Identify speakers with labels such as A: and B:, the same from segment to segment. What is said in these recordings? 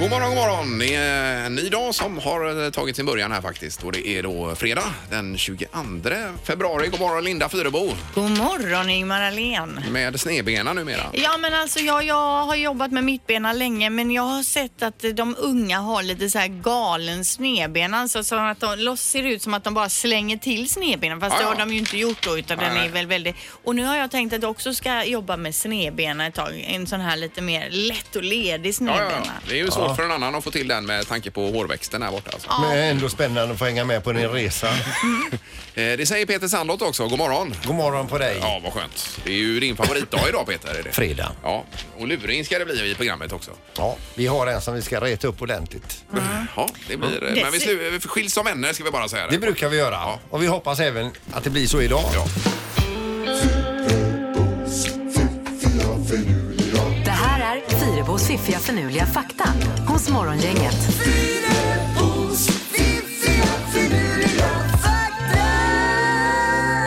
A: morgon, god morgon! Det är en ny dag som har eh, tagit sin början här faktiskt. Och det är då fredag den 22 februari. God morgon Linda Fyrebo
B: God morgon Ingmar Ahlén.
A: med snedbena numera.
B: Ja men alltså jag, jag har jobbat med mittbena länge men jag har sett att de unga har lite så här galen snedben. Alltså så att de loss ser ut som att de bara slänger till snedbenen fast
A: Ja,
B: det
A: ja.
B: har de ju inte gjort då utan den
A: Nej.
B: är väl väldigt... Och nu har jag tänkt att jag också ska jobba med snedbena ett tag. En sån här lite mer lätt och ledig
A: Ja,
B: snedbena.
A: ja, ja. Det är ju svårt för en annan att få till den med tanke på hårväxten här borta. Alltså.
B: Ja.
C: Men ändå spännande att få hänga med på din resa.
A: Eh, Det säger Peter Sandlott också. God morgon!
C: God morgon på dig.
A: Ja, vad skönt. Det är ju din favoritdag idag Peter. Är det?
C: Fredag.
A: Ja, och luring ska det bli i programmet också.
C: Ja, vi har en som vi ska reta upp ordentligt.
B: Mm.
A: Ja, det blir... eh, Men vi slu- vi skiljs som vänner ska vi bara säga.
C: Det brukar vi göra och vi hoppas även att det blir så idag.
A: Ja.
D: Det här är Fyrabos fiffiga förnuliga fakta hos Morgongänget.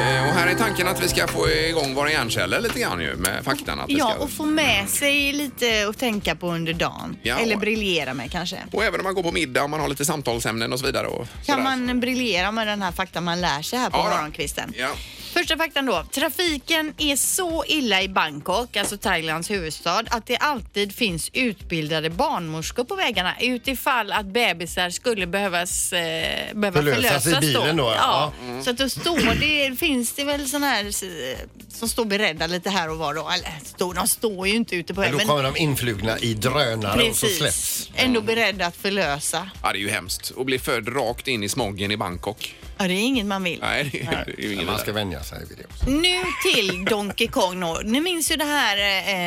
A: Eh, Och här är tanken att vi ska få igång våra hjärnceller lite grann ju med faktan. Att vi
B: Ja,
A: ska...
B: och få med sig lite att tänka på under dagen.
A: Ja.
B: Eller briljera med kanske.
A: och även om man går på middag och man har lite samtalsämnen och så vidare. Och sådär.
B: Kan man briljera med den här faktan man lär sig här på
A: Ja, då.
B: morgonkvisten?
A: Ja.
B: Första faktan då. Trafiken är så illa i Bangkok, alltså Thailands huvudstad, att det alltid finns utbildade barnmorskor på vägarna utifall att bebisar skulle behövas, eh, behöva
C: Förlösas
B: förlösas,
C: i bilen då,
B: Ja.
C: ja. Mm.
B: Så att då står det, finns det väl sådana här eh, som står beredda lite här och var då. Eller, står- de står ju inte ute på
C: Men då
B: vägen.
C: kommer de influgna i drönare och så släpps.
B: Precis. Ändå beredda att förlösa.
A: Ja, det är ju hemskt att bli född rakt in i smoggen i Bangkok.
B: Ja, det är inget man vill.
A: Nej, det är, det är ju ingen
C: Man ska
A: vidare.
C: vänja sig vid det.
B: Nu till Donkey Kong. då. Ni minns ju det här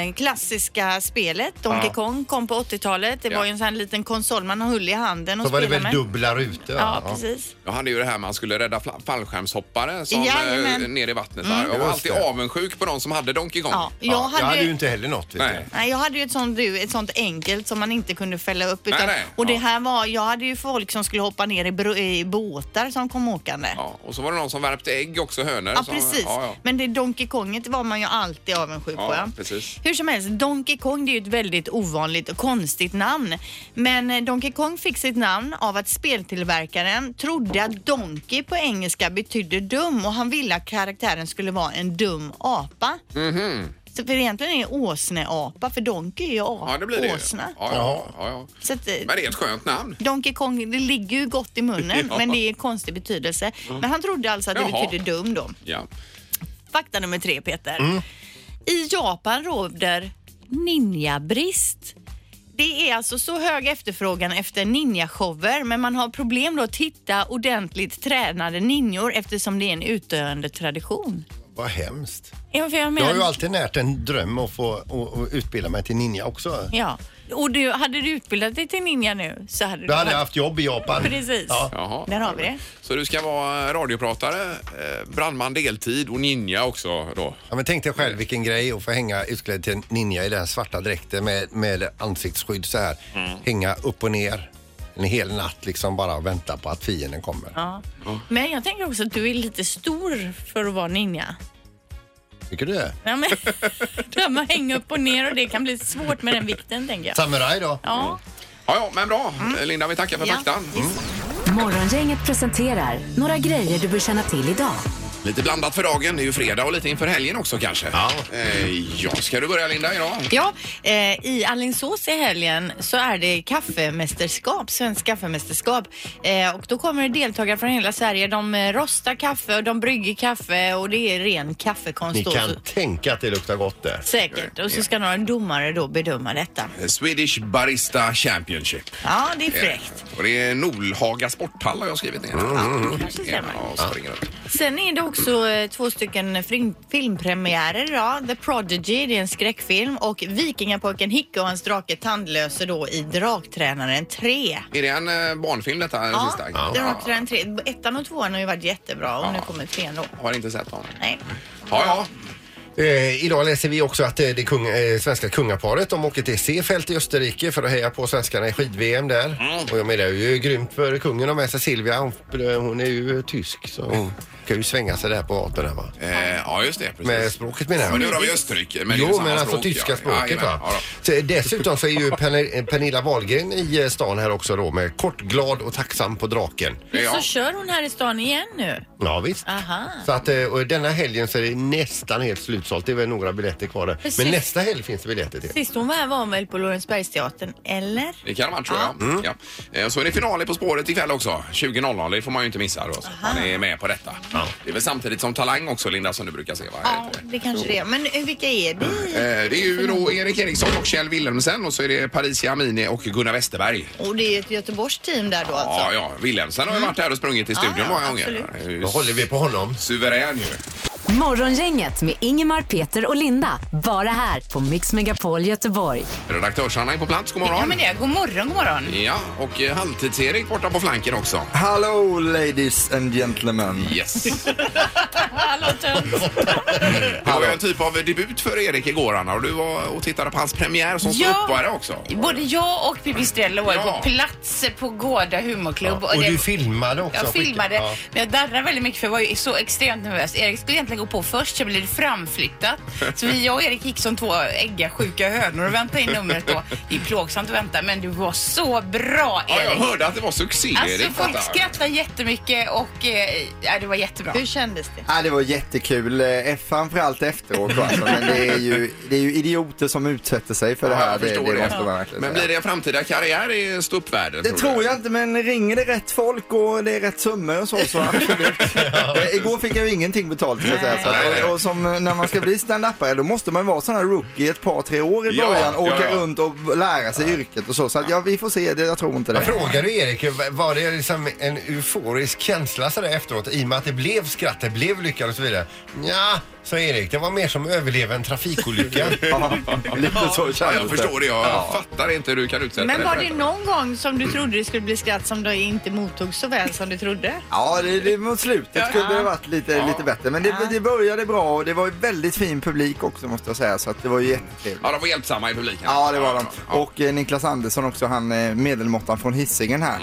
B: eh, klassiska spelet. Donkey
A: Ja.
B: Kong kom på 80-talet. Det
A: Ja.
B: var ju en sån här liten konsol man höll i handen och
C: Så var det
B: spelade
C: väl
B: med.
C: dubbla rutor? va?
B: Ja, precis.
A: Jag hade ju det här man skulle rädda fla- fallskärmshoppare som
B: Jajamän. Mm.
A: eh, ner i vattnet. där. Jag var
C: Just
A: alltid
C: det.
A: avundsjuk på någon som hade Donkey Kong.
B: Ja, jag,
C: Ja,
B: hade,
C: Jag hade ju inte heller något. Vet
A: Nej.
C: du.
B: Nej, jag hade ju ett sånt, du, ett sånt enkelt som man inte kunde fälla upp. Utan,
A: nej.
B: Och det
A: Ja.
B: här var, jag hade ju folk som skulle hoppa ner i, bro, i båtar som kom åkande. Ja.
A: Ja, och så var det någon som värpte ägg också, hönor. som-
B: precis.
A: Ja, ja.
B: Men det Donkey Konget var man ju alltid avundsjuk
A: Ja,
B: på. Ja.
A: precis.
B: Hur som helst, Donkey Kong det är ju ett väldigt ovanligt och konstigt namn. Men eh, Donkey Kong fick sitt namn av att speltillverkaren trodde att Donkey på engelska betydde dum och han ville att karaktären skulle vara en dum apa.
A: Mhm.
B: Så för egentligen är det åsneapa, för Donkey är ju a-
A: ja, det blir det ju.
B: åsna.
A: Ja, ja, ja, ja.
B: Så att, eh,
A: Men det är ett skönt namn.
B: Donkey Kong, det ligger ju gott i munnen,
A: Ja.
B: men det är en konstig betydelse. Men han trodde alltså att det
A: Jaha.
B: betydde dum då.
A: Ja.
B: Fakta nummer tre, Peter.
C: Mm.
B: I Japan råder ninjabrist. Det är alltså så hög efterfrågan efter ninjashower men man har problem då att hitta ordentligt tränade ninjor eftersom det är en utdöende tradition.
C: Vad hemskt.
B: Ja, för jag
C: Jag
B: menar...
C: har ju alltid närt en dröm att få och, och utbilda mig till ninja också.
B: ja. Och du, hade du utbildat dig till ninja nu så hade du...
C: Då hade jag haft jobb i Japan.
B: Precis.
C: Ja.
A: Jaha.
B: Där har vi det.
A: Så du ska vara radiopratare, eh, brandman deltid och ninja också då?
C: Ja, men tänk dig själv vilken grej att få hänga utklädd till en ninja i den här svarta dräkten med, med ansiktsskydd så här.
A: Mm.
C: Hänga upp och ner en hel natt liksom bara och vänta på att fienden kommer.
B: Ja. Men jag tänker också att du är lite stor för att vara ninja.
C: Tycker du det?
B: Ja, men, där man hänger upp och ner och det kan bli svårt med den vikten tänker jag.
C: Samurai då?
B: Ja.
A: Ja, ja men bra. Linda, vi tackar för
B: Ja,
A: faktan. Mm.
D: Morgongänget presenterar några grejer du bör känna till idag.
A: Lite blandat för dagen. Det är ju fredag och lite inför helgen också kanske. Ja. Eh, ja, ska du börja Linda idag?
B: Ja, eh, i Alingsås i helgen så är det kaffemästerskap, svensk kaffemästerskap. Eh, och då kommer det deltagare från hela Sverige. De eh, rostar kaffe och de brygger kaffe och det är ren kaffekonst.
C: Ni
B: då,
C: kan
B: så-
C: tänka att det luktar gott där.
B: Säkert. Och så ska några domare då bedöma detta.
A: Eh, Swedish Barista Championship.
B: Ja, det är fräckt.
A: Och det är Nolhaga sporthall har jag skrivit
C: Mm,
A: ner.
B: det kanske stämmer.
A: Mm. Ja, och springer upp.
B: Sen är det också eh, två stycken film, filmpremiärer idag. The Prodigy, det är en skräckfilm och Vikingapojken Hicke och hans drake Tandlöse då i Draktränaren 3.
A: Är det en eh, barnfilm detta? Den
B: Ja,
A: sista?
B: Draktränaren 3. Ettan och tvåan har ju varit jättebra och nu
A: Ja.
B: kommer trean då.
A: Har inte sett honom.
B: Nej.
A: Ja, ja.
C: Eh, idag läser vi också att eh, det kung, eh, svenska kungaparet de åker till Seefeld i Österrike för att heja på svenskarna i skid-VM där.
A: Mm.
C: Och jag menar det är ju grymt för kungen att ha med sig Silvia. Hon, eh, hon är ju tysk så hon kan ju svänga sig där på gatan där va?
A: Eh, ja, just det. Precis.
C: Med språket menar jag.
A: Men nu rör vi Österrike. Men det är ju
C: Jo,
A: samma
C: men alltså
A: språk,
C: tyska
A: ja.
C: språket
A: Jajamän,
C: va.
A: ja,
C: Så eh, dessutom så är ju Pern- Pernilla Wahlgren i eh, stan här också då med kort, glad och tacksam på draken.
A: då.
B: Så
A: Ja.
B: kör hon här i stan igen nu?
C: Ja visst.
B: Aha.
C: Så att eh, och denna helgen så är det nästan helt slutsålt. Det är väl några biljetter kvar där.
B: Precis.
C: Men nästa helg finns det biljetter till.
B: Sist hon var här var hon väl på Lorensbergsteatern, eller?
A: Det kan man tror jag. Ja. Eh, Så är det final i På spåret ikväll också. 20.00, det får man ju inte missa då. Så att man är med på detta. Det är väl samtidigt som Talang också, Linda, som du brukar se va?
B: Ja, det kanske det är. Men eh, vilka är det?
A: Eh, Det är ju då Erik Eriksson och Kjell Wilhelmsen och så är det Parisia Amini och Gunnar Westerberg.
B: Och det är ett Göteborgs team där då
A: Ja,
B: alltså?
A: ja. Wilhelmsen har ju varit här och sprungit i studion
B: Ja, ja,
A: många gånger.
B: absolut.
A: Han är ju
C: Då håller vi på honom.
A: Suverän ju.
D: Morgongänget med Ingemar, Peter och Linda. Bara här på Mix Megapol Göteborg.
A: Redaktörs-Anna är på plats, god
B: Ja,
A: morgon.
B: men det. God morgon, god morgon.
A: Ja, och eh, halvtids-Erik borta på flanken också.
E: Hello ladies and gentlemen.
A: Yes.
B: Hallå tönt.
A: Det var ju en typ av debut för Erik igår Anna och du var och tittade på hans premiär som
F: Ja.
A: ståuppare också.
F: Både jag och Pippi Stello var ju
A: Ja.
F: på plats på Gårda humorklubb.
C: Och
F: det-
C: du filmade också.
F: jag
C: skickligt.
F: filmade,
C: Ja.
F: men jag darrade väldigt mycket för jag var ju så extremt nervös. Erik skulle egentligen gå på först, så blev det framflyttat. Så vi, jag och Erik gick som två ägga sjuka hönor och väntade in numret då. Det är plågsamt att vänta, men du var så bra
A: Ja, jag
F: Erik.
A: hörde att det var succé
F: Alltså
A: Erik.
F: folk
A: detta.
F: skrattade jättemycket och eh, ja, det var jättebra.
B: Hur kändes det?
E: Ja, det var jättekul, eh, framförallt efteråt. då, Alltså. Men det är, ju, det är ju idioter som utsätter sig för det
A: Ja,
E: här.
A: jag
E: Det, det,
A: förstår det.
E: måste man verkligen
A: Men
E: säga.
A: blir det en framtida karriär i ståuppvärlden?
E: Det tror jag inte, men ringer det rätt folk och det är rätt summor och så, så absolut. Eh, Igår fick jag ju ingenting betalt kan jag säga. Så
A: Nej.
E: att, och, och som eh, när man ska bli stand-upare då måste man ju vara sån här rookie ett par, tre år i
A: Ja,
E: början.
A: ja,
E: åka
A: ja.
E: runt och lära sig yrket och så. Så att, ja, vi får se, det, jag tror inte det.
C: Jag frågade ju Erik, eh, var det liksom en euforisk känsla sådär efteråt i och med att det blev skratt, det blev lyckat och så vidare? Ja, sa Erik, det var mer som att överleva en trafikolycka.
E: Ja, lite så
A: Ja,
E: kändes
A: jag förstår det. Jag fattar inte hur du kan utsätta
B: Men
A: dig
B: var
A: för
B: det någon gång som du trodde det skulle bli skratt som du inte mottog så väl som du trodde?
E: Ja, det, det mot slutet skulle det varit lite, lite bättre. Men det, det började bra och det var ju väldigt fin publik också måste jag säga. Så att det var ju jättetrevligt.
A: Ja, de var hjälpsamma i publiken.
E: Ja, det var de.
A: Ja.
E: Och eh, Niklas Andersson också, han eh, medelmåttan från Hisingen här.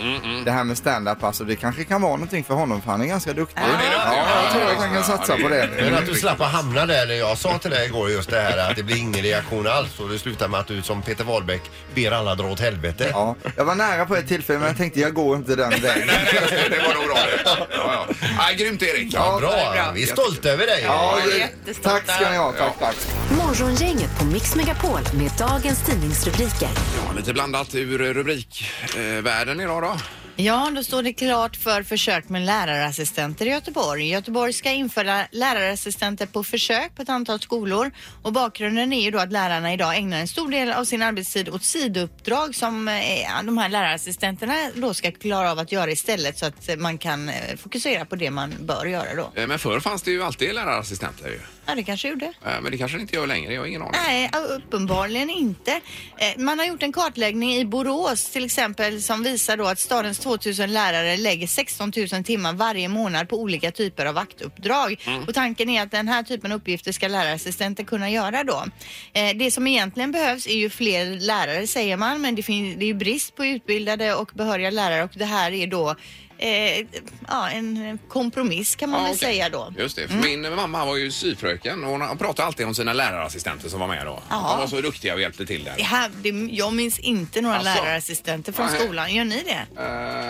E: Det här med stand-up, alltså det kanske kan vara någonting för honom för han är ganska duktig. Ja,
A: det är duktig.
E: jag tror att han kan satsa på
C: Men
E: det.
C: att du slapp att hamna där, jag sa till dig igår just det här att det blir ingen reaktion alls och det slutar med att du som Peter Wahlbeck ber alla dra åt helvete.
E: Ja, jag var nära på ett tillfälle men jag tänkte jag går inte den vägen.
A: Nej, nej, nej, det var nog bra det. Ja, ja. Ja, grymt Erik.
C: Ja,
A: Ja.
C: bra, vi är stolta över dig.
E: Ja,
A: Ja,
E: det,
F: jättestolta.
E: tack ska ni ha, tack, tack.
D: Morgongänget på Mix Megapol med dagens tidningsrubriker.
A: Ja, lite blandat ur rubrikvärlden idag då.
B: Ja, då står det klart för försök med lärarassistenter i Göteborg. Göteborg ska införa lärarassistenter på försök på ett antal skolor och bakgrunden är ju då att lärarna idag ägnar en stor del av sin arbetstid åt sidouppdrag som eh, ja, de här lärarassistenterna då ska klara av att göra istället så att eh, man kan eh, fokusera på det man bör göra då.
A: Eh, Men förr fanns det ju alltid lärarassistenter ju.
B: Ja, det kanske gjorde.
A: Eh, Men det kanske det inte gör längre, jag har ingen aning.
B: Nej, uppenbarligen inte. Eh, Man har gjort en kartläggning i Borås till exempel som visar då att stadens 2000 lärare lägger 16 000 timmar varje månad på olika typer av vaktuppdrag.
A: Mm.
B: Och tanken är att den här typen av uppgifter ska lärarassistenter kunna göra då. Eh, Det som egentligen behövs är ju fler lärare säger man, men det, finns, det är ju brist på utbildade och behöriga lärare och det här är då Eh, ja, en kompromiss kan man
A: Ja,
B: väl
A: okej.
B: säga då. Mm.
A: Just det, för min mamma var ju syfröken och hon pratade alltid om sina lärarassistenter som var med då.
B: Ja.
A: De var så duktiga och hjälpte till där.
B: Det här, det, jag minns inte några
A: Alltså?
B: lärarassistenter från
A: Nej.
B: skolan. Gör ni det?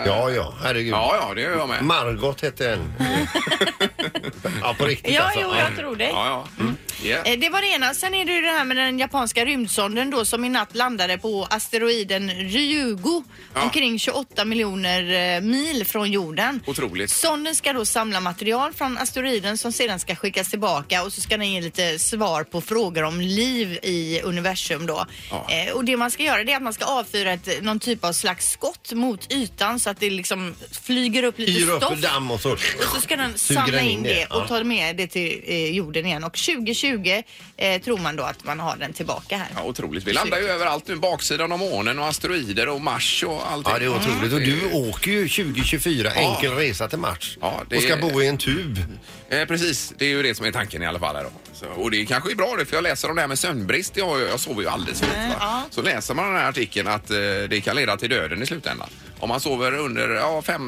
C: ja, ja herregud.
A: Ja, ja, det gör jag med.
C: Margot hette en. ja, på riktigt
F: Ja,
C: alltså.
F: jo,
C: Ja.
F: jag tror dig.
A: Ja, Mm. ja. Ja.
B: Eh, Det var det ena. Sen är det ju det här med den japanska rymdsonden då som i natt landade på asteroiden Ryugu
A: Ja.
B: omkring 28 miljoner eh, mil från jorden.
A: Otroligt.
B: Sonden ska då samla material från asteroiden som sedan ska skickas tillbaka och så ska den ge lite svar på frågor om liv i universum då.
A: Ja.
B: Eh, och det man ska göra det är att man ska avfyra ett, någon typ av slags skott mot ytan så att det liksom flyger upp lite
C: Yr
B: stoff.
C: upp damm och så.
B: Och så ska den
C: Suger
B: samla
C: den
B: in
C: in det,
B: det och
C: ja.
B: ta med det till eh, jorden igen. Och 2020 20 eh, tror man då att man har den tillbaka här.
A: Ja, otroligt. Vi landar ju överallt nu. Baksidan av månen och asteroider och Mars och allting. Mm.
C: Ja, det är otroligt. Och du åker ju 2024,
A: Ja.
C: enkel resa till match.
A: Ja, det
C: Och ska
A: är-
C: bo i en tub.
A: Eh, precis, det är ju det som är tanken i alla fall. Här då. Så, och det kanske är bra det, för jag läser om det här med sömnbrist. Jag, jag sover ju alldeles för
C: Mm,
A: lite. va? Så läser man den här artikeln att eh, det kan leda till döden i slutändan. Om man sover under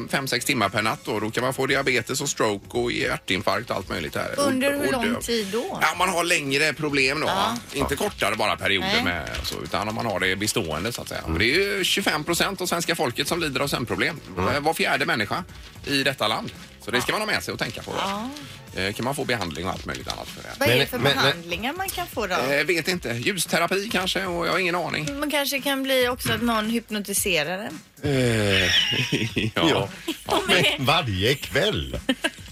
A: 5-6 timmar per natt då, då kan man få diabetes och stroke och hjärtinfarkt och allt möjligt. Här.
B: Under
A: Och-
B: hur
A: och
B: lång
A: dö.
B: tid då?
A: Ja, man har längre problem då. va? Inte kortare bara perioder
B: Nej.
A: med, så, utan om man har det bestående så att säga. Och det är ju 25 procent av svenska folket som lider av sömnproblem. Eh, Var fjärde människa i detta land. Så det ska man ha med sig och tänka på. Då. Eh, Kan man få behandling och allt möjligt annat för det.
B: Vad är
C: Men-
B: det för
C: men- men-
B: behandlingar man kan få då?
A: Eh, vet inte. Ljusterapi kanske? Och jag har ingen aning.
B: Man kanske kan bli också att någon hypnotiserar en.
A: Ja.
C: Varje kväll.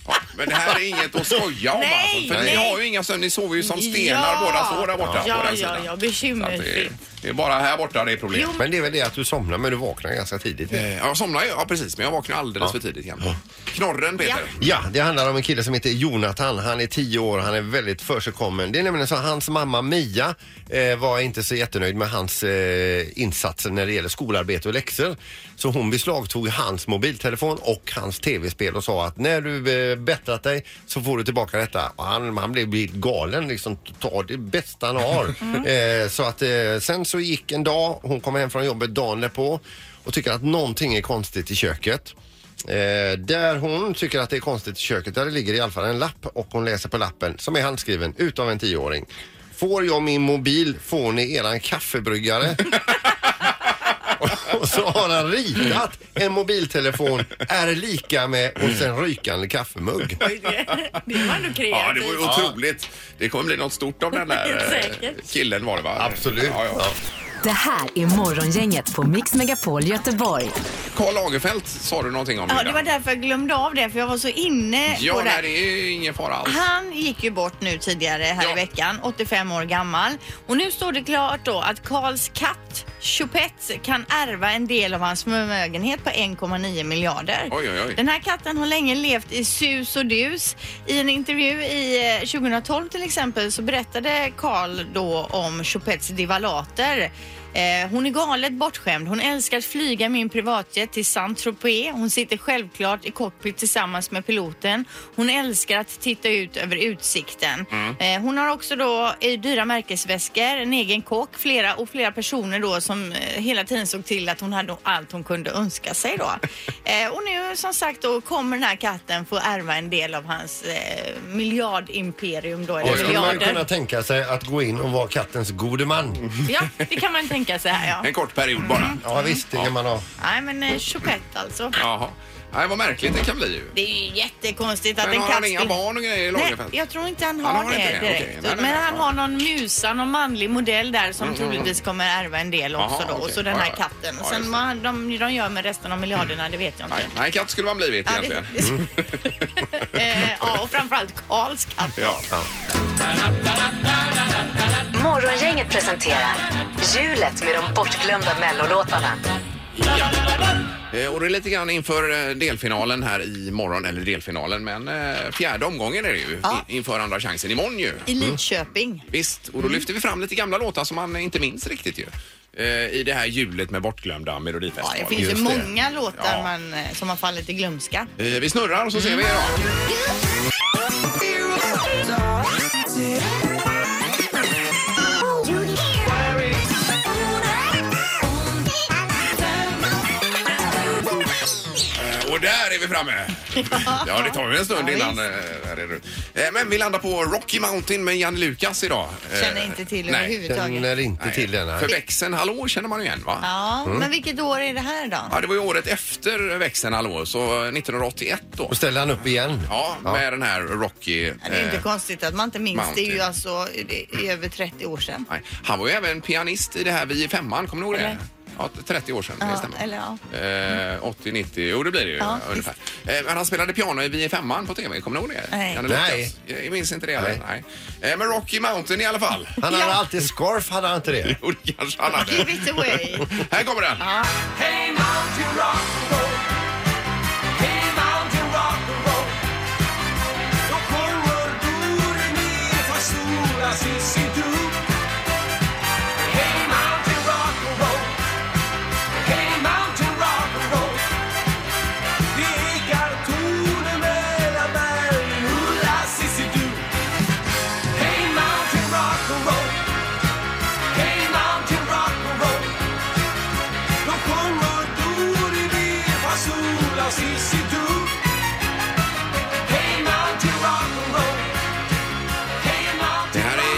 A: Ja, Men det här är inget att skoja om
B: Nej,
A: alltså, För ni
B: nej.
A: har ju inga sömn. Ni sover ju som stenar
B: Ja.
A: båda två där borta på
B: Ja,
A: den
B: ja,
A: sidan.
B: ja,
A: Så att det, är,
B: bekymmersfritt.
A: det är bara här borta det är problem.
C: Men det är väl det att du somnar men du vaknar ganska tidigt.
A: Eh, Jag somnar ju, ja precis, men jag vaknar alldeles för tidigt igen. Knorren Peter.
C: Ja, det handlar om en kille som heter Jonathan. Han är 10 år, han är väldigt försigkommen. Det är nämligen så att hans mamma Mia eh, var inte så jättenöjd med hans eh, insatser när det gäller skolarbete och läxor. Så hon beslagtog hans mobiltelefon och hans tv-spel och sa att när du eh, bättrat dig så får du tillbaka detta. Och han, han blev helt galen liksom, ta det bästa han har. Eh, så att eh, sen så gick en dag, hon kom hem från jobbet dagen därpå och tycker att någonting är konstigt i köket. Eh, där hon tycker att det är konstigt i köket, där det ligger i alla fall en lapp och hon läser på lappen som är handskriven utav en tioåring. Får jag min mobil får ni eran kaffebryggare. och så har han ritat en mobiltelefon är lika med och sen rykande kaffemugg.
B: Det var ändå kreativt.
A: Ja, det var ju otroligt. Det kommer bli något stort av den där eh,
B: Säkert.
A: killen var det va?
C: Absolut.
A: Ja, ja.
D: Det här är Morgongänget på Mix Megapol Göteborg.
A: Karl Lagerfeld sa du någonting om
B: Ja, det
A: Linda?
B: var därför jag glömde av det, för jag var så inne
A: Ja,
B: på det.
A: nej,
B: här.
A: det är ju ingen fara alls.
B: Han gick ju bort nu tidigare här
A: Ja.
B: i veckan, 85 år gammal. Och nu står det klart då att Karls katt Choupette kan ärva en del av hans förmögenhet på 1,9 miljarder.
A: Oj, oj, oj.
B: Den här katten har länge levt i sus och dus. I en intervju i eh, 2012 till exempel så berättade Karl då om Choupettes divalater. Eh, Hon är galet bortskämd. Hon älskar att flyga min privatjet till Saint-Tropez. Hon sitter självklart i cockpit tillsammans med piloten. Hon älskar att titta ut över utsikten.
A: Mm.
B: Eh, Hon har också då i dyra märkesväskor, en egen kock flera, och flera personer då som eh, hela tiden såg till att hon hade allt hon kunde önska sig då. Eh, Och nu som sagt då kommer den här katten få ärva en del av hans eh, miljardimperium då, eller
C: Det skulle man ju
B: miljarder.
C: kunna tänka sig att gå in och vara kattens gode man.
A: Mhm.
B: Ja, det kan man tänka sig här ja.
A: En kort period
B: Mm.
A: bara.
C: Ja visst, det kan man ha.
B: Nej men eh, Choupette alltså.
A: Jaha. Nej, vad märkligt det kan bli ju.
B: Det är ju jättekonstigt att
A: Men
B: en
A: har
B: katt...
A: han inga
B: skulle-
A: barn och grejer i
B: Nej,
A: Lagerfeld?
B: jag tror inte han har,
A: Han har
B: det
A: inte det?
B: direkt.
A: Okej, nej, nej,
B: men
A: nej. Mm,
B: han har någon musa, någon manlig modell där som troligtvis kommer ärva en del också
A: Jaha,
B: då.
A: okej.
B: Och så den här
A: Ja, ja.
B: katten.
A: Ja, just
B: Sen
A: det. Mm.
B: vad de, de gör med resten av miljarderna, det vet jag inte.
A: Nej, nej, katt skulle man blivit
B: Ja,
A: egentligen. Mm.
B: det- Eh, ja, och framförallt Karls katt.
A: Ja.
D: Morgongänget presenterar Hjulet med de bortglömda mellolåtarna.
A: Eh, Och det är lite grann inför eh, delfinalen här i morgon, eller delfinalen, men eh, fjärde omgången är det ju
B: Ja.
A: i- inför andra chansen imorgon ju.
B: I Lidköping.
A: Visst, och
B: Mm.
A: då lyfter vi fram lite gamla låtar som man inte minns riktigt ju. Eh, I det här hjulet med bortglömda
B: Ja,
A: Melodifestivalen.
B: det finns ju
C: Just det.
B: många låtar
A: Ja.
B: man, eh, som har fallit i glömska.
A: Eh, Vi snurrar och så ser vi
B: Mm.
A: er då. Eh, Och där är vi framme! Ja, det tar ju en stund
B: Ja,
A: innan. eh, där är du. Eh, Men vi landar på Rocky Mountain med Janne Lukas idag. Eh,
B: Känner inte till
A: nej.
B: överhuvudtaget.
C: Känner inte till den här.
A: För växeln Hallå känner man ju igen va?
B: Ja, men vilket år är det här då?
A: Ja, det var ju året efter växeln Hallå, så 1981 då.
C: Och ställer han upp igen.
A: Ja, med den här Rocky.
B: Ja, Det är inte
A: eh,
B: konstigt att man inte minns. Det är ju
A: Mountain.
B: alltså det är över 30 år sedan.
A: nej. Han var ju även pianist i det här Vi i femman, kommer ni ihåg det?
B: Eller?
A: Ja, 30 år sedan, det
B: Ja,
A: stämmer.
B: eller ja. Mm.
A: Eh, 80, 90, jo det blir det ju
B: Ja,
A: ungefär. Eh, men han spelade piano i Vi i femman på TV, kommer ni ihåg det?
B: Nej.
A: Janne Lucas.
C: Nej.
A: Jag minns inte det heller. Nej. Eh, men Rocky Mountain i alla fall.
C: Han hade alltid scarf, hade han inte det?
A: Jo, det kanske han hade.
B: Give it away.
A: Här kommer den.
G: Då kommer du ner från solen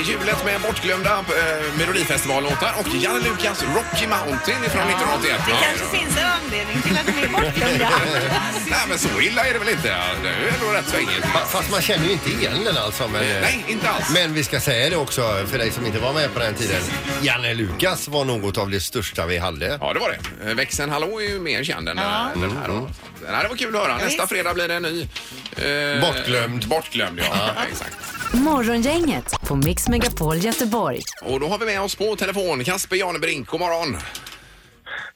A: spelet med bortglömda eh, Melodifestivallåtar och Janne Lukas Rocky Mountain ifrån 1981.
B: Det kanske finns en anledning till att de är bortglömda.
A: Nej, men så illa är det väl inte? Det är ändå rätt svängigt.
C: Fa- Fast man känner ju inte igen den alltså. Men, eh,
A: Nej, inte alls.
C: Men vi ska säga det också för dig som inte var med på den tiden. Janne Lukas var något av det största vi hade.
A: Ja, det var det. Eh, Växeln Hallå är ju mer känd än eh, den här.
C: Mm.
A: då. Så att, Nej, det var kul att höra. Nästa fredag blir det en ny. eh,
C: Bortglömd.
A: Bortglömd, ja. Exakt.
D: Morgongänget på Mix Megapol Göteborg.
A: Och då har vi med oss på telefon Kasper Janebrink. God morgon!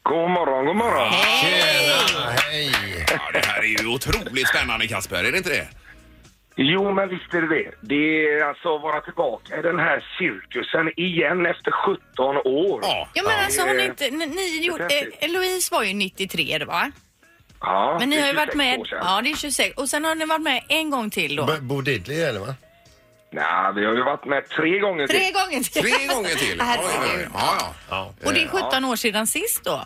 G: God morgon, god morgon.
C: Tjena, hej!
A: Ja, det här är ju otroligt spännande Kasper, är det inte det?
G: Jo, men visst är det det. Det är alltså att vara tillbaka i den här cirkusen igen efter 17 år.
A: Ja.
B: Ja men alltså har ni inte, ni, ni gjorde, eh, Eloise var ju 93 det va?
G: Ja,
B: Men ni
G: det är
B: har ju varit
G: 26
B: med,
G: år sedan.
B: ja det är 26, och sen har ni varit med en gång till då.
C: B- Bo Diddley eller va?
G: Nej, vi har ju varit med tre gånger
B: Tre gånger till.
A: Tre gånger till! Ja, ja,
B: Herregud.
A: ja. ja.
C: Eh,
B: Och det är 17 år sedan sist då?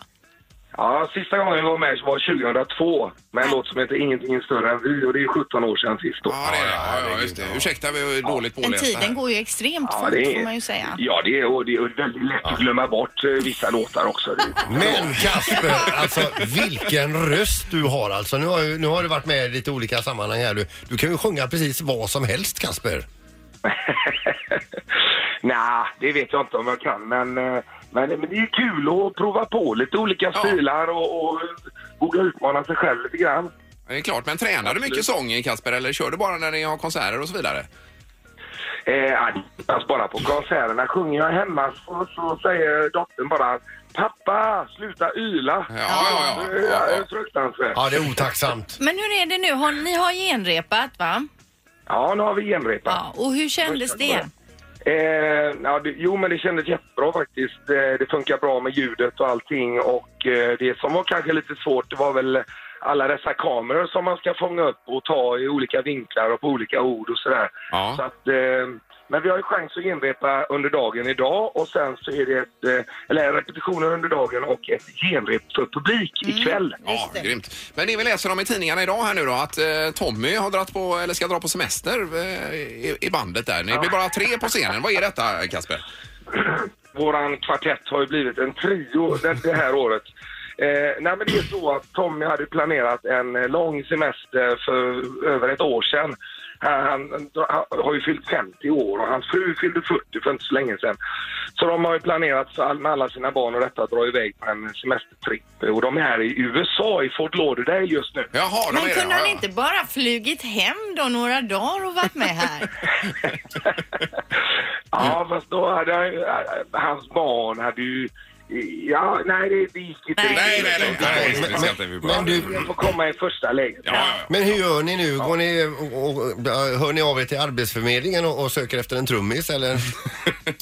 G: Ja, sista gången vi var med var 2002 med en låt som heter Ingenting är större än vi och det är 17 år sedan sist då.
A: Ja, det är det. Ja, ja, just det. Ursäkta, vi är dåligt
B: Men
A: pålästa. här.
B: tiden går ju extremt
G: Ja,
B: fort
G: det är-
B: får man ju säga.
G: Ja, det är, och det är väldigt lätt att glömma bort eh, vissa låtar också. Det-
C: Men Kasper, alltså vilken röst du har alltså. Nu har, ju- nu har du varit med i lite olika sammanhang här. Du, du kan ju sjunga precis vad som helst Kasper.
G: Nej, det vet jag inte om jag kan, men, eh, men, men det är kul att prova på lite olika stilar och, och våga utmana sig själv lite grann.
A: Det är klart, men tränar du mycket sång Kasper eller kör du bara när ni har konserter och så vidare?
G: Eh, ja, det är bara på konserterna. Sjunger jag hemma så, så säger dottern bara Pappa, sluta yla!
A: Ja, ja, ja.
G: Det
A: Ja,
G: är
A: ja.
G: fruktansvärt.
C: Ja, det är otacksamt.
B: Men hur är det nu? Har, ni har genrepat va?
G: Ja, nu har vi genrepat.
B: Ja. Och hur kändes det?
G: Eh, ja, det, jo, men det kändes jättebra faktiskt. Eh, det funkar bra med ljudet och allting. Och eh, det som var kanske lite svårt, det var väl alla dessa kameror som man ska fånga upp och ta i olika vinklar och på olika ord och sådär.
A: Ja.
G: Så att, eh, men vi har ju chans att genrepa under dagen idag och sen så är det ett, eh, eller repetitioner under dagen och ett genrep för publik ikväll.
A: Ja, grymt. Men det vi läser om i tidningarna idag här nu då att eh, Tommy har dratt på, eller ska dra på semester eh, i, i bandet där. Ni blir bara tre på scenen. Vad är detta Kasper?
G: våran kvartett har ju blivit en trio det, det här året. Eh, nej men det är så att Tommy hade planerat en eh, lång semester för över ett år sedan. Han, han, han har ju fyllt 50 år och hans fru fyllde 40 för inte så länge sedan. Så de har ju planerat för all, med alla sina barn och detta att dra iväg på en semestertripp. Och de är här i USA, i Fort Lauderdale just nu.
A: Jaha, de är
B: Men
A: det.
B: kunde
A: Ja,
B: han
A: ja.
B: inte bara flugit hem då några dagar och varit med här?
G: Ja, fast då hade han, ju- eh, hans barn hade ju... Ja, nej det, det gick inte
B: Nej.
A: Nej, nej, nej. nej, nej, vi ska inte- vi bara-
C: Men du,
G: Jag får komma i första läget.
A: Ja, ja, ja.
C: men hur gör ni nu? Går ni och, och, hör ni av er till Arbetsförmedlingen och, och söker efter en trummis eller?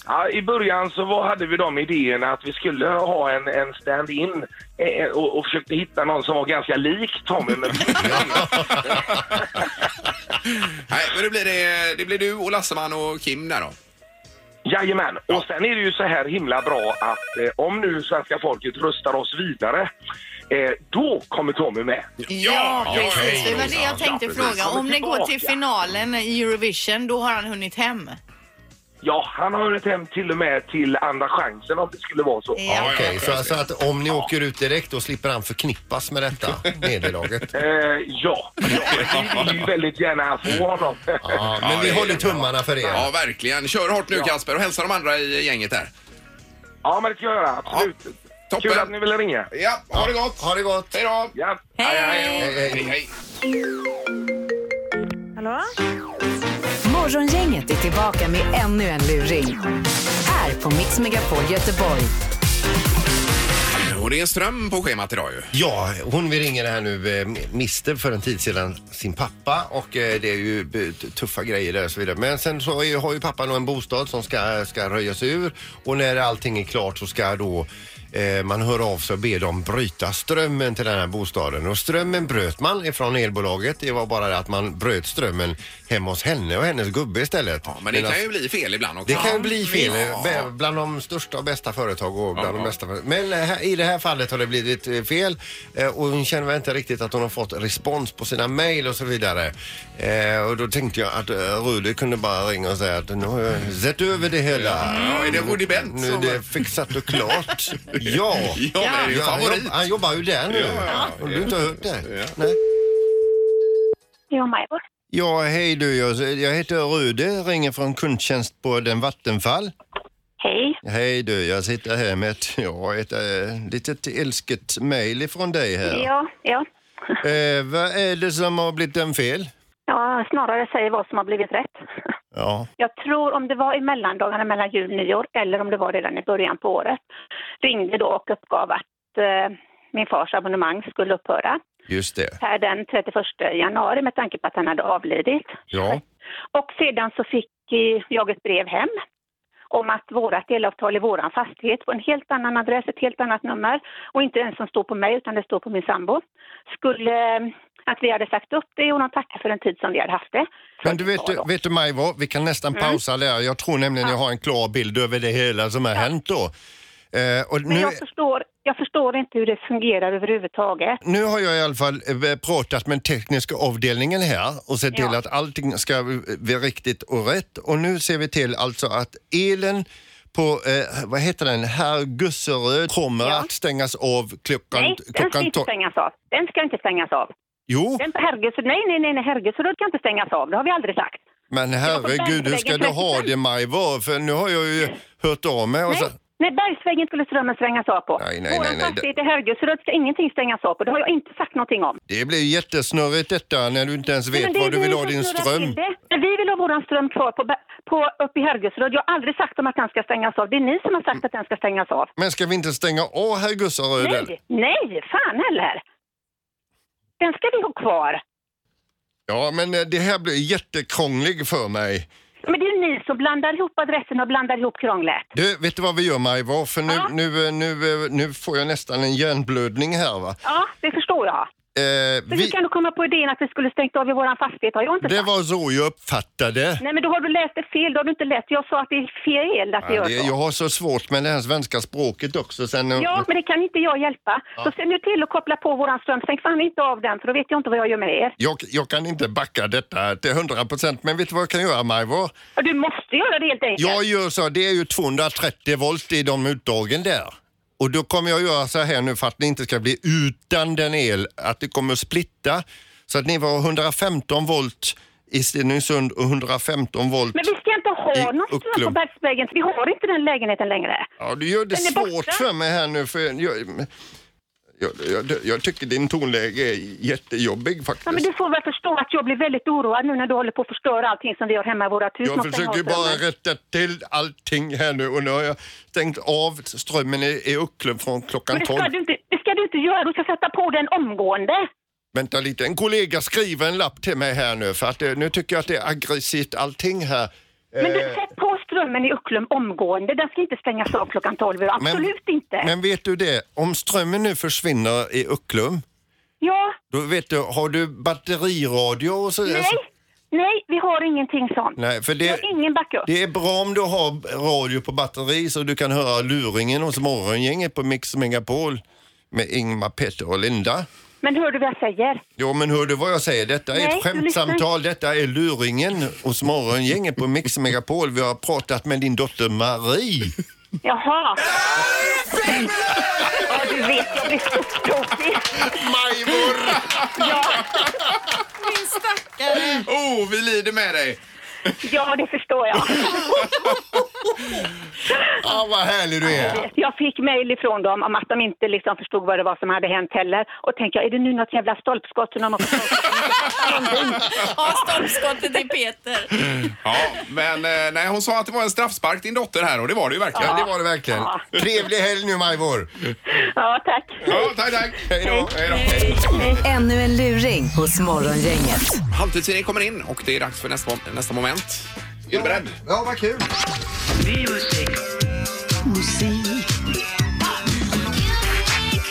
G: Ja, I början så var, hade vi de idéerna att vi skulle ha en, en stand-in eh, och, och försökte hitta någon som var ganska lik Tommy. Men
A: Nej, men det blir, det, det blir du och Lasseman och Kim där då.
G: Jajamän. Och sen är det ju så här himla bra att eh, om nu svenska folket röstar oss vidare, eh, då kommer Tommy med.
B: Ja, precis. Det var det jag tänkte
A: Ja, precis.
B: fråga. Om ni går till finalen i Eurovision, då har han hunnit hem.
G: Ja, han har hunnit hem till och med till Andra chansen om det skulle vara så.
B: Eh.
A: Ja, ja,
C: Okej,
A: ja,
C: så, så att om ni åker ut direkt då slipper han förknippas med detta nederlaget.
G: Eh, ja, ja, vi vill ju väldigt gärna få honom.
C: Ja,
A: Ja,
C: men vi
A: det är
C: håller tummarna för
A: Ja,
C: er.
A: verkligen. Kör hårt nu Kasper och hälsa de andra i gänget där.
G: Ja, men det ska jag göra. Absolut.
A: toppen.
G: Kul att ni ville ringa.
A: Ja, ha det gott!
C: Ha det gott!
A: Hej då!
G: Ja.
A: Hej, hej. hej.
D: Morgongänget är tillbaka med ännu en luring. Här på Mix Megapol Göteborg.
A: Och det är ström på schemat idag ju.
C: Ja, hon vi ringer här nu eh, miste för en tid sedan sin pappa och eh, det är ju b- t- tuffa grejer där och så vidare. Men sen så är, ju- har ju pappan då en bostad som ska, ska röjas ur och när allting är klart så ska då Eh, man hör av sig och ber dem bryta strömmen till den här bostaden och strömmen bröt man ifrån elbolaget. Det var bara det att man bröt strömmen hemma hos henne och hennes gubbe istället.
A: Ja, men det
C: Medan-
A: kan ju bli fel ibland också.
C: det kan ju bli fel.
A: Ja.
C: eh, Bland de största och bästa företag och bland
A: Ja.
C: de bästa. Men eh, här- i det här fallet har det blivit eh, fel Eh, och hon känner väl inte riktigt att hon har fått respons på sina mejl och så vidare. Eh, Och då tänkte jag att eh, Rudi kunde bara ringa och säga att nu har jag sett över det hela.
A: Ja, är det Woody Bent
C: Nu är
A: som-
C: det fixat och klart. Ja.
A: Ja, men det är ju
C: Ja, han,
A: favorit.
C: jobb, han jobbar ju där nu.
A: Ja, ja, ja.
C: Har du inte hört det?
A: Ja.
C: Nej.
F: Det var Majvor.
C: Ja, hej du. Jag, jag heter Rudi, ringer från kundtjänst på den Vattenfall.
F: Hej.
C: Hej du, jag sitter här med ett, ja, ett äh, litet älsket mejl ifrån dig här.
F: Ja, ja.
C: Eh, vad är det som har blivit en fel?
F: Ja, snarare säger vad som har blivit rätt.
C: Ja.
F: Jag tror om det var i mellandagarna mellan jul och nyår eller om det var redan i början på året ringde då och uppgav att eh, min fars abonnemang skulle upphöra
C: Just det.
F: per den 31 januari med tanke på att han hade avlidit.
C: Ja.
F: Och sedan så fick eh, jag ett brev hem om att vårat delavtal i våran fastighet på en helt annan adress, ett helt annat nummer och inte ens som står på mig utan det står på min sambo, skulle eh, att vi hade sagt upp det och de tackade för den tid som vi hade haft det.
C: Men du vet, du- vet du Majvor, vi kan nästan
F: Mm.
C: pausa där. Jag tror nämligen jag har en klar bild över det hela som har hänt då. Eh, och
F: Men
C: nu,
F: jag förstår, jag förstår inte hur det fungerar överhuvudtaget.
C: nu har jag i alla fall eh, pratat med tekniska avdelningen här och sett till
F: Ja.
C: att allting ska vara riktigt och rätt. Och nu ser vi till alltså att elen på, eh, vad heter den, herr Gusseröd kommer att stängas av klockan...
F: Nej, den ska
C: klockan
F: inte
C: to-
F: stängas av. Den ska inte stängas av.
C: Jo,
F: Den, herregud, så- nej, nej, nej, nej, herregud, så den ska inte stängas av. Det har vi aldrig sagt.
C: men
F: Jag
C: herregud,
F: får
C: hur ska du ha det Majvor? För nu har jag ju hört av mig och
F: Nej,
C: så...
F: nej, Bergsvägen skulle strömmen stängas av på.
C: Nej, nej,
F: Vår
C: nej, nej, det-
F: fastighet i Herrgudseröd ska ingenting stängas av på. Det har jag inte sagt någonting om.
C: Det blir jättesnurrigt detta när du inte ens
F: Men
C: vet
F: det är
C: var du
F: vi
C: vill ha
F: som
C: din
F: snurrar
C: ström.
F: till det. Men vi vill ha våran ström kvar på, Ber- på, uppe i Herrgudseröd. Jag har aldrig sagt om att den ska stängas av. Det är ni som har sagt att den ska stängas av.
C: Men ska vi inte stänga av herr Gusseröd? eller?
F: Nej, nej, fan heller. Den ska vi ha kvar.
C: Ja, men eh, det här blir jättekrånglig för mig.
F: Men det är ju ni som blandar ihop adresserna och blandar ihop krånglet.
C: Du, vet du vad vi gör Majvor? För nu,
F: Ja.
C: nu, eh, nu, eh, nu får jag nästan en hjärnblödning här va.
F: Ja, det förstår jag.
C: Eh,
F: Men hur
C: vi,
F: kan du komma på idén att vi skulle stängt av i våran fastighet? Har jag inte
C: det
F: sagt.
C: var så jag uppfattade.
F: Nej, men då har du läst det fel. Då har du inte läst. Jag sa att det är fel att
C: Ja,
F: vi gör
C: det,
F: så.
C: jag har så svårt med det här svenska språket också. Sen,
F: Ja, men det kan inte jag hjälpa. Så se nu till att koppla på våran ström. Stäng fan inte av den, för då vet jag inte vad jag gör med er.
C: jag, jag kan inte backa detta till 100 procent, men vet du vad jag kan göra Majvor?
F: Och Du måste göra det helt enkelt.
C: Jag gör så, det är ju 230 volt i de utdragen där. Och då kommer jag göra så här nu för att ni inte ska bli utan den el, att det kommer att splitta. Så att ni var 115 volt i Stenungsund och 115 volt.
F: Men vi ska inte ha
C: I
F: någon ström på
C: Ucklum.
F: Bergsvägen, för vi har inte den lägenheten längre.
C: Ja, du gör det
F: Den är
C: svårt
F: borta.
C: för mig här nu för jag, jag, jag, jag tycker din tonläge är jättejobbig
F: Ja, men
C: faktiskt.
F: du får väl förstå att jag blir väldigt oroad nu när du håller på att förstöra allting som vi har hemma i våra hus.
C: Jag
F: Man ska
C: försöker
F: ha
C: ju bara
F: strömmen.
C: rätta till allting här nu och nu har jag stängt av strömmen i, i Ucklum från klockan
F: Men det
C: 12.
F: ska, du inte, det ska du inte göra. Du ska sätta på den omgående.
C: Vänta lite, en kollega skriver en lapp till mig här nu för att eh, nu tycker jag att det är aggressivt allting här.
F: Men du,
C: Eh.
F: sätt på strömmen i Ucklum omgående. Den ska inte stängas av klockan 12. Absolut inte.
C: Men vet du det, om strömmen nu försvinner i Ucklum,
F: Ja,
C: då vet du, har du batteriradio och så?
F: nej, nej, vi har ingenting sånt.
C: Alltså- Nej, för
F: Vi
C: det,
F: har ingen backup.
C: det är bra om du har radio på batteri så du kan höra luringen hos morgongänget på Mix Megapol med Ingmar, Petter och Linda.
F: Men hör du vad jag säger?
C: Jo men hör du vad jag säger, detta är
F: Nej,
C: ett
F: du
C: skämtsamtal, detta är luringen hos morgongänget på Mix Megapol. Vi har pratat med din dotter Marie.
F: Jaha. ja, du vet, jag blir så tråkig.
A: Majvor!
F: Ja,
B: Min stackare.
A: Oh, vi lider med dig!
F: ja, det förstår jag.
C: Ja, vad härlig du är.
F: Jag fick mejl ifrån dem om att de inte liksom förstod vad det var som hade hänt heller. Och tänkte jag, är det nu något jävla stolpskott som de har fått
B: Ja, stolpskottet i Peter.
A: Ja, men eh, nej, hon sa att det var en straffspark din dotter här och det var det ju verkligen.
C: Ja, det var det verkligen.
F: Ja.
C: Trevlig helg nu Majvor.
F: Ja, tack.
A: Ja, tack, tack.
C: Hej då.
A: Hej då.
D: Ännu en luring hos Morgongänget.
A: Halvtids-Erik kommer in och det är dags för nästa, nästa moment. Är du beredd?
H: Ja, vad kul.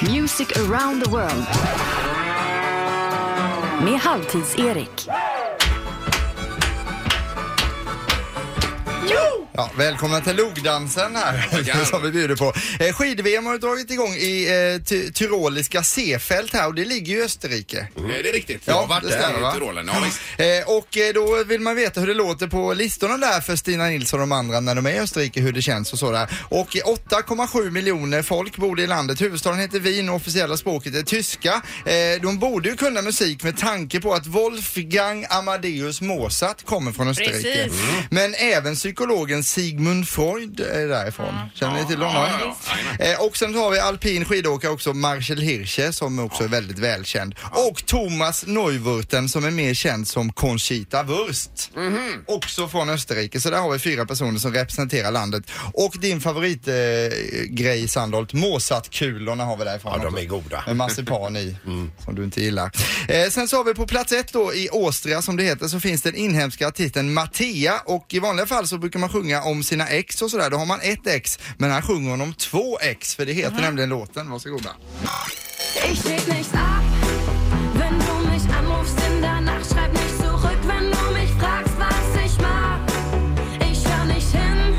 D: Music around the world. Med Halvtids-Erik.
E: Ja, välkomna till logdansen här
A: Tackar.
E: som vi bjuder på. Eh, Skid-VM har dragit igång i eh, ty- Tyroliska Seefeld här och det ligger ju i Österrike.
A: Eh, Det är riktigt.
E: Mm. Ja,
A: Jag har varit
E: det
A: där
E: stämmer, va?
A: i Tyrolen. Ja, visst.
E: Eh, och eh, då vill man veta hur det låter på listorna där för Stina Nilsson och de andra när de är i Österrike, hur det känns och sådär. Och eh, 8,7 miljoner folk bor i landet. Huvudstaden heter Wien och officiella språket är tyska. Eh, de borde ju kunna musik med tanke på att Wolfgang Amadeus Mozart kommer från Österrike.
I: Precis.
E: Mm. Men även psykologen Sigmund Freud är därifrån.
C: Mm.
E: Känner ni till honom?
A: Ja, ja, ja. Jajamän.
E: Eh, Och sen har vi alpin skidåkare också, Marcel Hirscher som också är väldigt välkänd. Och Thomas Neuwirten som är mer känd som Conchita Wurst.
C: Mhm.
E: Också från Österrike. Så där har vi fyra personer som representerar landet. Och din favoritgrej eh, grej, Sandholt, Mozartkulorna har vi därifrån
C: Ja, de
E: också.
C: är goda.
E: Med marsipan i, som du inte gillar. Eh, sen så har vi på plats ett då i Åstria som det heter så finns den inhemska artisten Mattia och i vanliga fall så brukar man sjunga om sina ex och sådär. Då har man ett ex men han sjunger om två ex för det heter nämligen låten. Varsågoda.
J: Ich leg nicht ab, wenn du mich anrufst in der Nacht. Schreib nicht zurück, wenn du mich fragst, was ich mag. Ich hör nicht hin,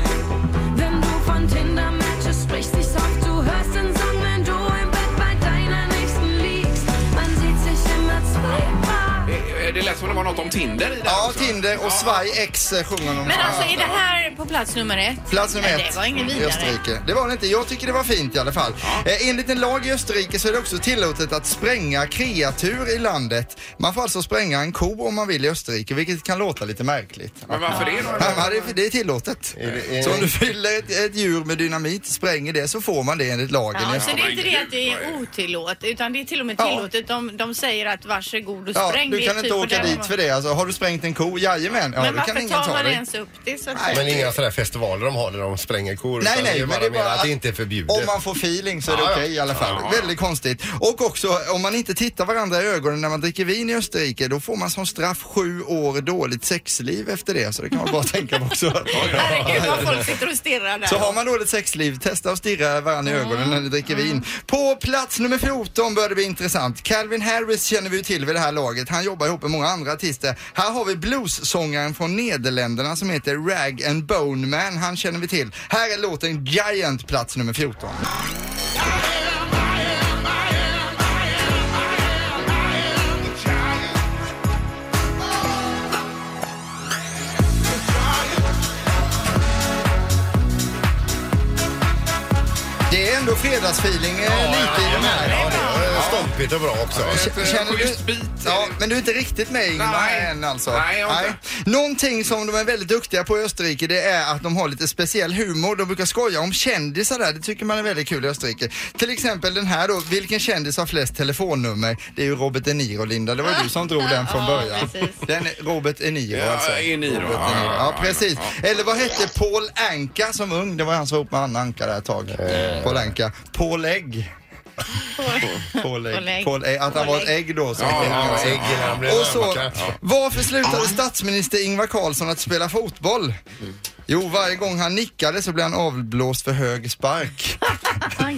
J: wenn du von Tinder-Matches sprichst. Ich hoffe, du hörst den Song, wenn du im Bett bei deiner Nächsten liegst. Man sieht sich immer zweimal.
A: Eh, Det lät som det var något om Tinder i det här
E: Ja,
A: också.
E: Tinder och Svaj X eh, sjunger hon om.
I: Men alltså är det här på plats nummer ett?
E: Plats nummer
B: Men det
E: ett
B: var ingen
E: i
B: vidare.
E: Österrike. Det var det inte. Jag tycker det var fint i alla fall. Eh, enligt en lag i Österrike så är det också tillåtet att spränga kreatur i landet. Man får alltså spränga en ko om man vill i Österrike, vilket kan låta lite märkligt.
A: Men varför det då?
E: Ja, men det, är- det är tillåtet.
C: det- är-
E: Så om du fyller ett, ett djur med dynamit, spränger det, så får man det enligt lagen.
B: Ja,
E: i
B: så det är inte det att det är otillåtet utan det är till och med
E: Ja.
B: tillåtet. De, de säger att varsågod och
E: Ja,
B: spräng.
E: du
B: Det är
E: kan inte
B: typ på
E: åka
B: den
E: dit
B: nivån.
E: för det. Alltså, har du sprängt en ko? Jajamän. Ja,
B: men
E: då kan
B: varför
E: ingen
B: tar
E: ta
B: man
E: dig.
B: ens upp det? Så att
E: Nej,
C: Men inga sådana här festivaler de har där de spränger kor.
E: Nej,
C: utan
E: nej,
C: Alltså, det är
E: men
C: bara
E: det är
C: mer
E: bara
C: att det inte är förbjudet.
E: Om man får feeling så är det
C: Ja,
E: okej
C: ja.
E: i alla fall.
A: Ja, ja.
E: Väldigt konstigt. Och också om man inte tittar varandra i ögonen när man dricker vin i Österrike, då får man som straff sju år dåligt sexliv efter det. Så det kan man bara tänka på också.
B: Herregud vad folk sitter och stirrar där.
E: Så har man dåligt sexliv, testa att stirra varandra i ögonen när ni dricker vin. På plats nummer 14 börjar det bli intressant. Calvin Harris känner vi ju till vid det här laget. Han jobbar ihop med många andra artister. Här har vi bluessångaren från Nederländerna som heter Rag and Bone Man. Han känner vi till. Här är låten Giant, plats nummer 14. Det är ändå fredagsfeeling eh, lite i den här.
C: Ja, det är stompigt och bra också.
A: Ett, eh, schysst bit.
E: Ja, men du är inte riktigt med Ingmar
A: Nej.
E: än alltså.
A: Nej, jag har inte.
E: Någonting som de är väldigt duktiga på i Österrike det är att de har lite speciell humor. De brukar skoja om kändisar där. Det tycker man är väldigt kul i Österrike. Till exempel den här då. Vilken kändis har flest telefonnummer? Det är ju Robert De Niro, Linda. Det var ju du som drog den från
B: Ja,
E: början.
B: precis.
E: Den är Robert De Niro
A: Ja,
E: alltså.
A: De Niro.
E: Robert
A: Ja, ja,
E: Ja,
A: ja,
E: precis.
A: ja.
E: Eller vad hette Paul Anka som ung? Det var han som var ihop med Anna Anka där ett tag.
A: Eh.
E: Paul Anka. Paul Egg. Paul
B: Paul
E: Egg.
B: Egg.
E: Paul Egg. Att han var ett ägg då. Så
A: Ja, ja, ja.
C: Ägg när han blir
E: och så,
C: varma.
E: varför slutade statsminister Ingvar Carlsson att spela fotboll? Jo, varje gång han nickade så blev han avblåst för hög spark.